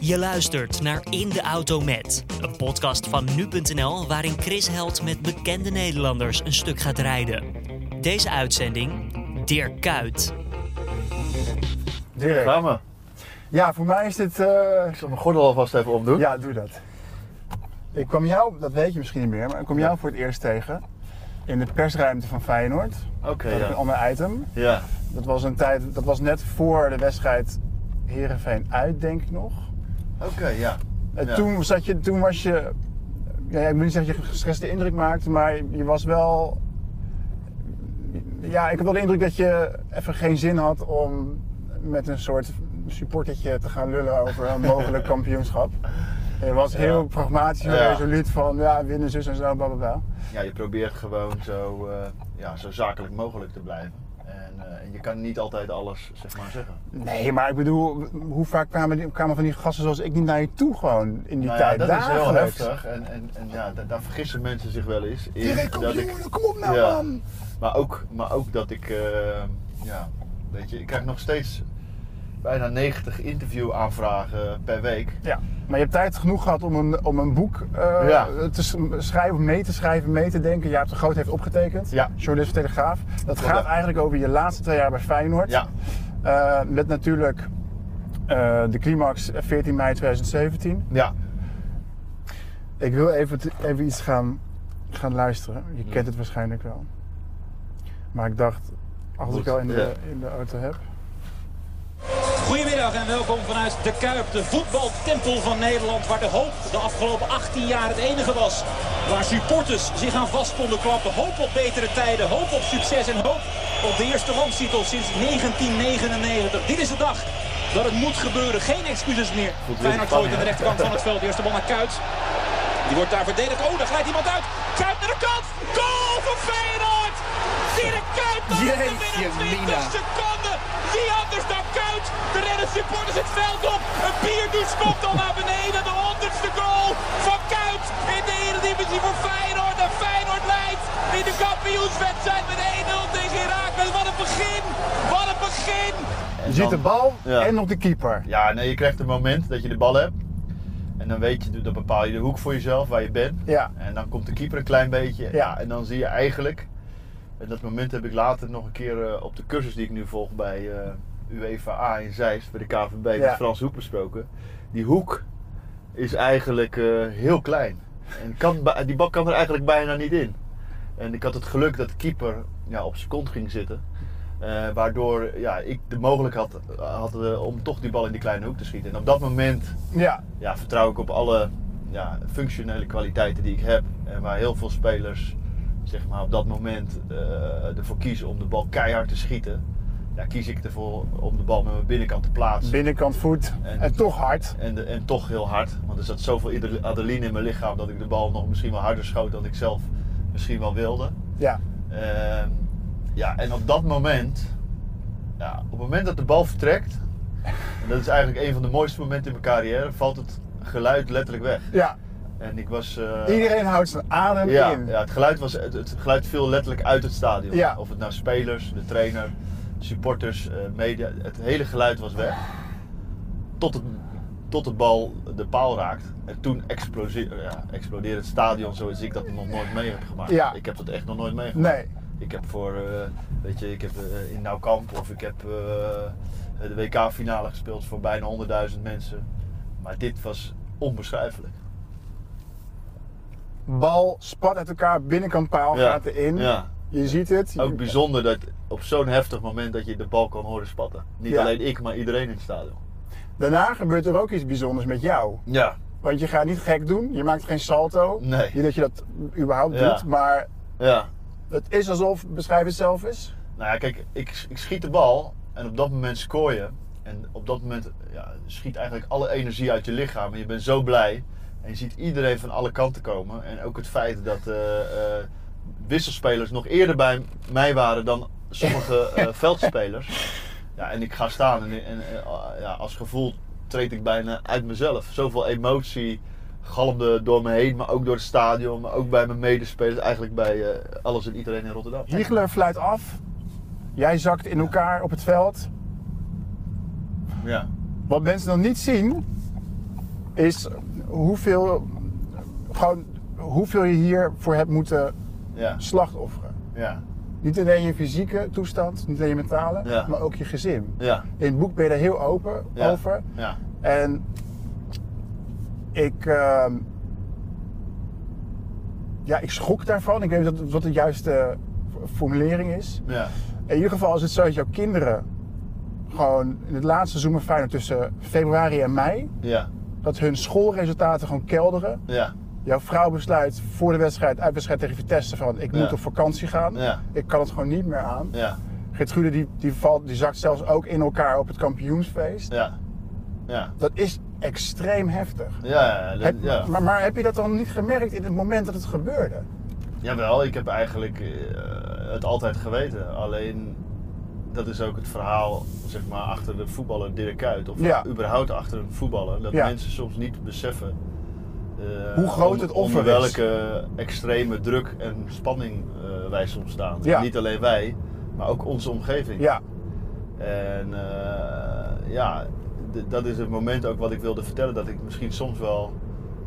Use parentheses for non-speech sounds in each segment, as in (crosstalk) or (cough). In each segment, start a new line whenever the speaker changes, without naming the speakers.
Je luistert naar In de Auto Met, een podcast van nu.nl waarin Chris Held met bekende Nederlanders een stuk gaat rijden. Deze uitzending, Dirk Kuyt.
Dirk.
Gaan we.
Ja, voor mij is dit. eh,
Ik zal mijn gordel alvast even opdoen.
Ja, doe dat. Ik kwam jou, dat weet je misschien niet meer, maar ik kwam jou voor het eerst tegen in de persruimte van Feyenoord.
Oké,
dat is
ja.
een ander item.
Ja.
Dat was een tijd, dat was net voor de wedstrijd Herenveen uit, denk ik nog.
Oké, ja.
En
Ja.
toen zat je, toen was je, ja, ik moet niet zeggen dat je gestreste indruk maakte, maar je was wel, ja, ik heb wel de indruk dat je even geen zin had om met een soort supportertje te gaan lullen over een
(laughs)
mogelijk kampioenschap. En Je was heel pragmatisch en
Ja.
resoluut van, ja, winnen zus en zo, bla bla bla.
Ja, je probeert gewoon zo, eh, ja, zo zakelijk mogelijk te blijven. En, eh, en je kan niet altijd alles zeg maar, zeggen.
Nee, maar ik bedoel, hoe vaak kwamen, die- kwamen van die gasten zoals ik niet naar je toe gewoon in die
Nou ja,
tijd?
dat is heel
Dagelijks.
heftig. En, en, en ja, da- daar vergissen mensen zich wel eens. in
Dirk, kom,
dat ik-
jongen, kom op nou
Ja.
man!
Maar ook, maar ook dat ik, eh, ja, weet je, ik krijg nog steeds bijna 90 interviewaanvragen per week.
Ja, maar je hebt tijd genoeg gehad om een, om een boek eh,
Ja.
te s- schrijven, mee te schrijven, mee te denken. Jaap de Groot heeft opgetekend,
Ja.
journalist van Telegraaf. Dat
Klopt,
gaat
ja.
eigenlijk over je laatste twee jaar bij Feyenoord.
Ja.
Eh, met natuurlijk eh, de climax 14 mei 2017.
Ja,
Ik wil even, t- even iets gaan, gaan luisteren. Je kent het waarschijnlijk wel. Maar ik dacht, als
Moet,
ik al in de,
ja.
in de auto heb.
Goedemiddag en welkom vanuit De Kuip, de voetbaltempel van Nederland. Waar de hoop de afgelopen 18 jaar het enige was. Waar supporters zich aan vast konden klappen. Hoop op betere tijden, hoop op succes en hoop op de eerste landstitel sinds 1999. Dit is de dag dat het moet gebeuren. Geen excuses meer.
weer
Feyenoord
Spanje.
gooit aan de rechterkant van het veld. De eerste bal naar Kuit. Die wordt daar verdedigd. Oh, daar glijdt iemand uit. Kuit naar de kant. Goal van Feyenoord! Dirk Kuit maakt hem binnen 20 seconden. Wie anders dan Kuit? De rennen supporters het veld op. Een bierdouche komt al naar beneden. De honderdste goal van Kuit in de Eredivisie voor Feyenoord. En Feyenoord leidt in de kampioenswedstrijd met 1-0 tegen Herakles. Wat een begin! Wat een begin!
en
Je ziet
dan-
de bal
Ja.
en nog de keeper.
Ja, nee, je krijgt een moment dat je de bal hebt. En dan weet je, dan bepaal je de hoek voor jezelf, waar je bent.
Ja.
En dan komt de keeper een klein beetje. Ja.
Ja.
en dan zie je eigenlijk... En dat moment heb ik later nog een keer eh, op de cursus die ik nu volg bij eh, UEFA A in Zeist, bij de KVB,
Ja.
met Frans Hoek besproken. Die hoek is eigenlijk eh, heel klein. En kan, bij- die bal kan er eigenlijk bijna niet in. En ik had het geluk dat de keeper ja, op zijn kont ging zitten. Eh, waardoor ja, ik de mogelijkheid had, had eh, om toch die bal in die kleine hoek te schieten. En op dat moment
Ja,
ja, vertrouw ik op alle ja, functionele kwaliteiten die ik heb. En waar heel veel spelers zeg maar, op dat moment eh, ervoor kiezen om de bal keihard te schieten. Ja, kies ik ervoor om de bal met mijn binnenkant te plaatsen.
binnenkant voet
En-
en toch hard.
en, de- en toch heel hard. Want er zat zoveel adre- adrenaline in mijn lichaam dat ik de bal nog misschien wel harder schoot dan ik zelf misschien wel wilde.
Ja.
Ehm, ja, en op dat moment, ja, op het moment dat de bal vertrekt, en dat is eigenlijk een van de mooiste momenten in mijn carrière, valt het geluid letterlijk weg.
Ja,
En ik was. eh,
Iedereen houdt zijn adem
ja,
in.
ja, het geluid, was, het, het geluid viel letterlijk uit het stadion.
Ja.
Of het nou spelers, de trainer, supporters, eh, media, het hele geluid was weg. Tot, het, tot de bal de paal raakt. En toen explose- ja, explodeerde het stadion zoals ik dat nog nooit mee heb gemaakt.
Ja.
Ik heb dat echt nog nooit meegemaakt.
Nee.
Ik heb voor, eh, weet je, ik heb eh, in Nauwkamp of ik heb eh, de WK-finale gespeeld voor bijna 100.000 mensen. Maar dit was onbeschrijfelijk.
Bal spat uit elkaar, binnenkant paal
Ja.
gaat erin.
Ja.
Je ziet het.
Ook bijzonder dat op zo'n heftig moment dat je de bal kan horen spatten. Niet
Ja.
alleen ik, maar iedereen in het stadion.
Daarna gebeurt er ook iets bijzonders met jou.
Ja.
Want je gaat niet gek doen, je maakt geen salto.
Nee.
Niet dat je dat überhaupt
Ja.
doet, maar
Ja.
het is alsof, beschrijf het zelf eens.
Nou ja, kijk, ik, ik schiet de bal en op dat moment scoor je. En op dat moment ja, schiet eigenlijk alle energie uit je lichaam. En je bent zo blij. En je ziet iedereen van alle kanten komen. En ook het feit dat eh, eh, wisselspelers nog eerder bij mij waren dan sommige eh, veldspelers. Ja, en ik ga staan en, en eh, ja, als gevoel treed ik bijna uit mezelf. Zoveel emotie galmde door me heen, maar ook door het stadion, maar ook bij mijn medespelers. Eigenlijk bij eh, alles en iedereen in Rotterdam.
Hiegler fluit af, jij zakt in elkaar op het veld.
Ja.
Wat mensen dan niet zien, is hoeveel, gewoon hoeveel je hiervoor hebt moeten
Ja.
slachtofferen.
Ja.
Niet alleen je fysieke toestand, niet alleen je mentale,
Ja.
maar ook je gezin.
Ja.
In het boek ben je daar heel open
Ja.
over.
Ja.
En ik, ehm, ja, ik schrok daarvan. Ik weet niet wat- wat de juiste formulering is.
Ja.
In ieder geval is het zo dat jouw kinderen gewoon in het laatste seizoen van Feyenoord tussen februari en mei,
Ja.
dat hun schoolresultaten gewoon kelderen.
Ja.
Jouw vrouw besluit voor de wedstrijd, uitwedstrijd tegen Vitesse, van ik
Ja.
moet op vakantie gaan.
Ja.
Ik kan het gewoon niet meer aan.
Ja.
Gertrude die, die, valt, die zakt zelfs ook in elkaar op het kampioensfeest.
Ja. Ja.
Dat is extreem heftig.
Ja, ja,
Heb-
dat- ja.
Maar, maar heb je dat dan niet gemerkt in het moment dat het gebeurde?
Jawel, ik heb eigenlijk eh, het altijd geweten. Alleen dat is ook het verhaal zeg maar, achter de voetballer Dirk Kuyt. Of
Ja.
überhaupt achter een voetballer. Dat
Ja.
mensen soms niet beseffen eh,
Hoe groot
onder-
het offer
onder
is.
welke extreme druk en spanning eh, wij soms staan.
Ja.
Niet alleen wij, maar ook onze omgeving.
Ja,
En eh, ja, d- dat is het moment ook wat ik wilde vertellen. Dat ik misschien soms wel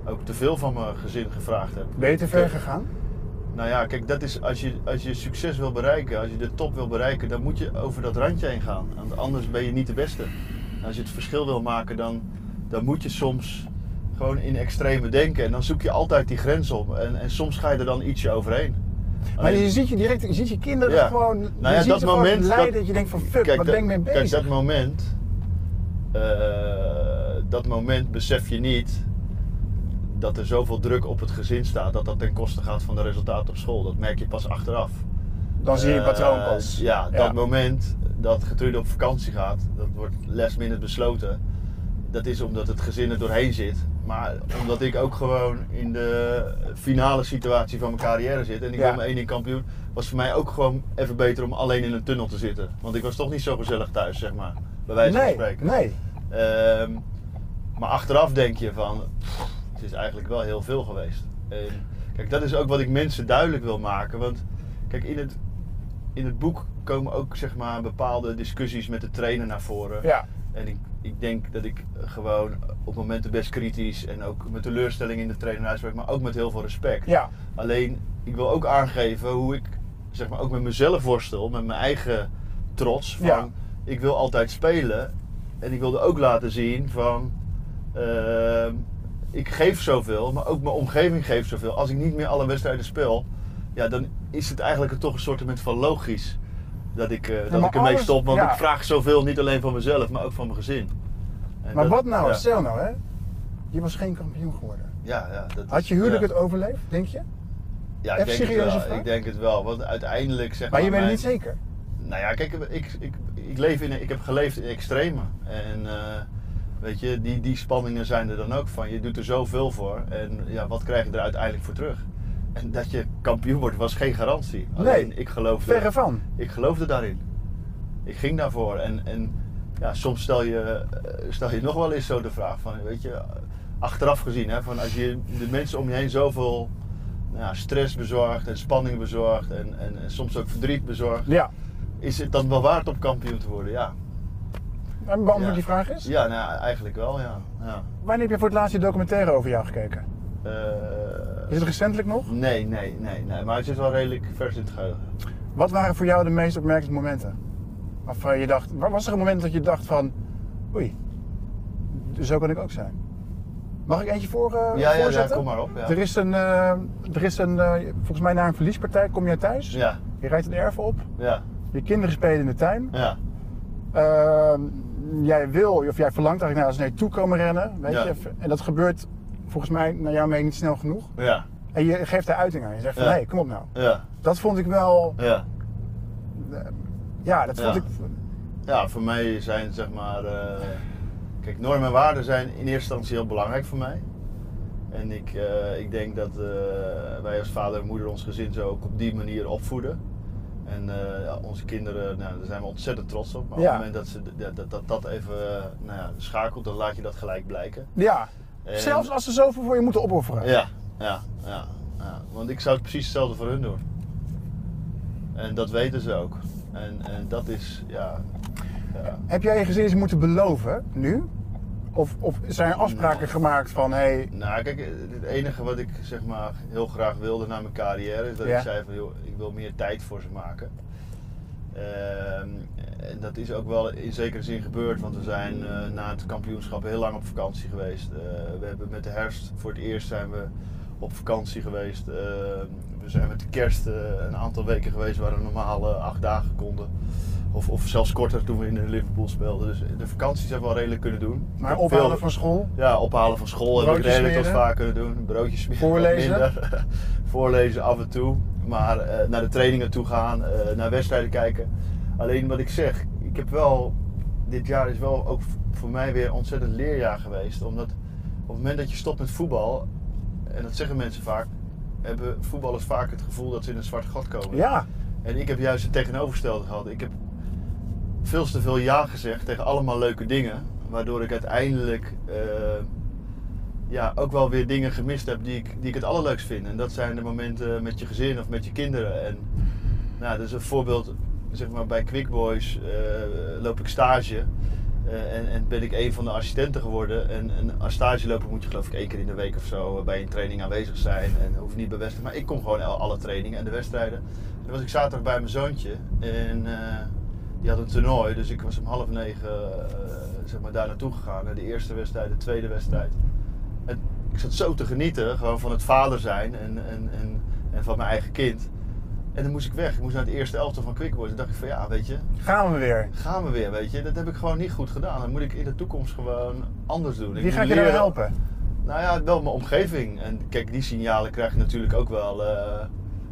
ook te veel van mijn gezin gevraagd heb.
ben je te ver gegaan?
Nou ja, kijk, dat is, als, je, als je succes wil bereiken, als je de top wil bereiken, dan moet je over dat randje heen gaan. Want anders ben je niet de beste. En als je het verschil wil maken, dan, dan moet je soms gewoon in extreme denken. En dan zoek je altijd die grens op. En, en soms ga je er dan ietsje overheen.
Maar
Alleen-
je ziet je direct, je ziet je kinderen
Ja.
gewoon,
Nou
je
ja,
ziet
dat
ze gewoon
moment,
lijden
dat-
dat, je denkt van fuck, wat
dat-
ben ik mee bezig?
Kijk, dat moment, eh, dat moment besef je niet dat er zoveel druk op het gezin staat dat dat ten koste gaat van de resultaten op school. Dat merk je pas achteraf.
dan zie je een
Eh,
patroon pas.
Ja, dat moment dat Getrude op vakantie gaat, dat wordt last minute besloten. Dat is omdat het gezin er doorheen zit. Maar omdat ik ook gewoon in de finale situatie van mijn carrière zit en ik
Ja.
wil mijn één ding kampioen, was voor mij ook gewoon even beter om alleen in een tunnel te zitten. Want ik was toch niet zo gezellig thuis, zeg maar. Bij wijze van
Nee,
spreken.
nee.
Ehm, maar achteraf denk je van, pff, het is eigenlijk wel heel veel geweest. En kijk, dat is ook wat ik mensen duidelijk wil maken. Want kijk, in het, in het boek komen ook zeg maar bepaalde discussies met de trainer naar voren.
Ja.
En ik, ik denk dat ik gewoon op momenten best kritisch en ook met teleurstelling in de trainer uitspreek, maar ook met heel veel respect.
Ja.
Alleen, ik wil ook aangeven hoe ik zeg maar ook met mezelf worstel, met mijn eigen trots. Van,
Ja.
Ik wil altijd spelen en ik wilde ook laten zien van, ehm, ik geef zoveel, maar ook mijn omgeving geeft zoveel. Als ik niet meer alle wedstrijden speel, ja, dan is het eigenlijk toch een soort van logisch dat ik, eh, dat
maar
ik ermee
alles-
stop. Want
ja.
ik vraag zoveel, niet alleen van mezelf, maar ook van mijn gezin. En
Maar
dat-
wat nou,
ja.
stel nou hè, je was geen kampioen geworden.
Ja, ja, dat is-
Had je huwelijk
ja.
het overleefd, denk je?
Ja,
Even
ik denk, het
serieuze
wel.
vraag?
ik denk het wel. Want uiteindelijk zeg
Maar je
mijn-
bent niet zeker.
Nou ja, kijk, ik, ik, ik, leef in, ik heb geleefd in extreme. En eh, weet je, die, die spanningen zijn er dan ook van. Je doet er zoveel voor. En ja, wat krijg je er uiteindelijk voor terug? En dat je kampioen wordt was geen garantie. Alleen, ik geloofde,
verre van.
Ik geloofde daarin. Ik ging daarvoor. En, en ja, soms stel je, eh, stel je nog wel eens zo de vraag van, weet je, achteraf gezien, hè, van als je de mensen om je heen zoveel nou ja, stress bezorgt en spanning bezorgt en, en, en soms ook verdriet bezorgt
Ja.
is het dan wel waard om kampioen te worden? Ja.
En beantwoord
Ja.
die vraag is.
Ja, nou, ja, eigenlijk wel, ja. ja.
Wanneer heb je voor het laatst die documentaire over jou gekeken? Is
Eh,
het recentelijk nog?
nee, nee, nee, nee. Maar het is wel redelijk vers in het geheugen.
Wat waren voor jou de meest opmerkelijke momenten? Waarvan je dacht, wa- was er een moment dat je dacht van, oei, zo kan ik ook zijn? Mag ik eentje voor, eh,
ja, ja,
voorzetten?
kom maar op, ja.
Er is een, eh, er is een eh, volgens mij na een verliespartij kom jij thuis.
Ja,
Je rijdt een erf op,
ja,
je kinderen spelen in de tuin.
ja,
Ehm, jij wil, of jij verlangt eigenlijk naar ze naar je toe komen rennen, weet
Ja.
je. En dat gebeurt volgens mij naar jouw mening niet snel genoeg.
ja,
En je geeft daar uiting aan. Je zegt van,
Ja.
hé, hey, kom op nou.
ja,
Dat vond ik wel,
ja.
ja, dat vond
Ja.
ik...
Ja, voor mij zijn zeg maar. eh, kijk, normen en waarden zijn in eerste instantie heel belangrijk voor mij. En ik, eh, ik denk dat eh, wij als vader en moeder ons gezin zo ook op die manier opvoeden. En eh, ja, onze kinderen, nou, daar zijn we ontzettend trots op. Maar
Ja.
op het moment dat, ze, dat, dat, dat dat even eh, nou ja, schakelt, dan laat je dat gelijk blijken.
Ja.
En-
Zelfs als ze zoveel voor je moeten opofferen.
Eh, Ja, ja, ja, ja. Want ik zou het precies hetzelfde voor hun doen. En dat weten ze ook. En, en dat is, ja, ja.
Heb jij je gezin eens moeten beloven, nu? Of, of zijn er afspraken gemaakt van, hé, hey,
Nou, kijk, het enige wat ik zeg maar heel graag wilde na mijn carrière is dat
Ja.
ik zei van joh, ik wil meer tijd voor ze maken. Ehm, en dat is ook wel in zekere zin gebeurd, want we zijn eh, na het kampioenschap heel lang op vakantie geweest. Eh, we hebben met de herfst voor het eerst zijn we op vakantie geweest. Ehm, we zijn met de kerst eh, een aantal weken geweest waar we normaal eh, acht dagen konden. Of, of zelfs korter toen we in Liverpool speelden. Dus de vakanties hebben we al redelijk kunnen doen.
maar
Veel-
ophalen van school.
ja, ophalen van school heb ik
Broodjes
redelijk wat
smeren.
vaak kunnen doen. Broodjes smeren. wat
Voorlezen.
minder. (laughs) Voorlezen af en toe. Maar eh, naar de trainingen toe gaan, eh, naar wedstrijden kijken. Alleen wat ik zeg, ik heb wel. Dit jaar is wel ook voor mij weer een ontzettend leerjaar geweest. Omdat op het moment dat je stopt met voetbal, en dat zeggen mensen vaak, hebben voetballers vaak het gevoel dat ze in een zwart gat komen.
Ja,
En ik heb juist het tegenovergestelde gehad. Ik heb veel te veel ja gezegd tegen allemaal leuke dingen. Waardoor ik uiteindelijk eh, ja, ook wel weer dingen gemist heb die ik, die ik het allerleukst vind. En dat zijn de momenten met je gezin of met je kinderen. En nou, dat is een voorbeeld. Zeg maar, bij Quick Boys eh, loop ik stage. eh, en, en ben ik een van de assistenten geworden. En, en als stageloper moet je geloof ik één keer in de week of zo eh, bij een training aanwezig zijn. En hoef niet bij wedstrijden. Maar ik kom gewoon alle trainingen en de wedstrijden. En dan was ik zaterdag bij mijn zoontje. En eh, die had een toernooi, dus ik was om half negen eh, zeg maar, daar naartoe gegaan. Naar De eerste wedstrijd, de tweede wedstrijd. En ik zat zo te genieten, gewoon van het vader zijn en, en, en, en van mijn eigen kind. En dan moest ik weg. Ik moest naar het eerste elftal van Quick Boys. Dan dacht ik van ja, weet je,
gaan we weer.
gaan we weer, weet je. Dat heb ik gewoon niet goed gedaan. Dat moet ik in de toekomst gewoon anders doen. Ik
Wie ga
moet
ik je daar
leren-
helpen?
nou ja, wel mijn omgeving. En kijk, die signalen krijg ik natuurlijk ook wel eh,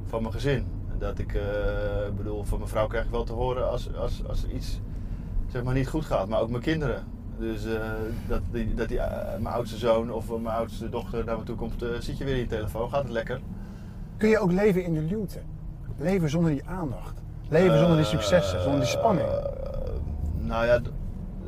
van mijn gezin. Dat ik, eh, ik bedoel, van mijn vrouw krijg ik wel te horen als, als, als er iets zeg maar, niet goed gaat. Maar ook mijn kinderen. Dus eh, dat, die, dat die, eh, mijn oudste zoon of mijn oudste dochter naar me toe komt. eh, zit je weer in je telefoon? Gaat het lekker?
Kun je ook leven in de luwte? Leven zonder die aandacht. Leven zonder die successen, zonder die
Eh,
spanning.
Nou ja, de,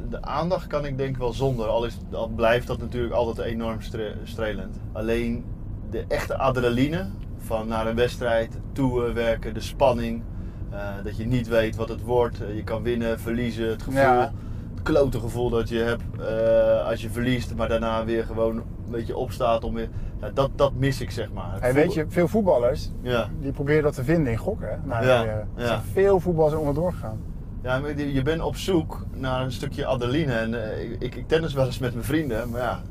de aandacht kan ik denk wel zonder. Al, is, al blijft dat natuurlijk altijd enorm stre- strelend. Alleen de echte adrenaline van naar een wedstrijd toe eh, werken, de spanning. eh, dat je niet weet wat het wordt. Eh, je kan winnen, verliezen. Het gevoel,
Ja.
het klote gevoel dat je hebt eh, als je verliest. Maar daarna weer gewoon een beetje opstaat om weer... Ja, dat, dat mis ik zeg maar. Het
Hey, weet
voel-
je, veel voetballers
Ja.
die proberen dat te vinden in gokken. hè? Nou,
Ja,
eh, er
ja.
zijn Veel voetballers zijn onderdoor gegaan.
Ja, maar je je bent op zoek naar een stukje adrenaline. En eh, ik- ik, ik tennis wel eens met mijn vrienden, maar ja,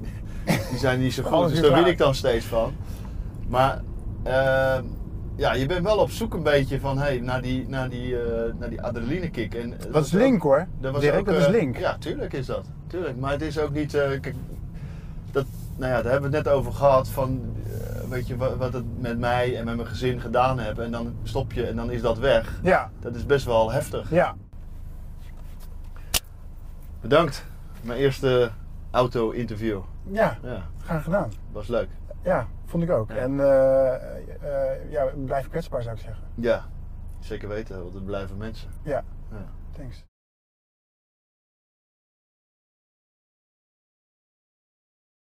die
(laughs)
zijn niet zo goed.
Alles
Dus
weer
daar
klaar.
win ik dan steeds van. Maar eh, ja, je bent wel op zoek een beetje van, hey, naar die, naar die, eh, naar die adrenaline kick. En, eh,
Dat is link hoor.
dat was
Dirk,
ook,
dat
eh,
is link.
Ja, tuurlijk is dat. Tuurlijk. Maar het is ook niet. eh, kijk, dat, nou ja, daar hebben we het net over gehad. Van, eh, weet je, wa- wat het met mij en met mijn gezin gedaan heb. En dan stop je en dan is dat weg.
Ja,
Dat is best wel heftig.
ja.
Bedankt. Mijn eerste auto-interview.
Ja,
Ja,
graag gedaan.
was leuk.
Ja, vond ik ook.
Ja.
En eh, eh, ja, blijf kwetsbaar zou ik zeggen.
Ja, zeker weten, want het blijven mensen.
Ja,
Ja.
thanks.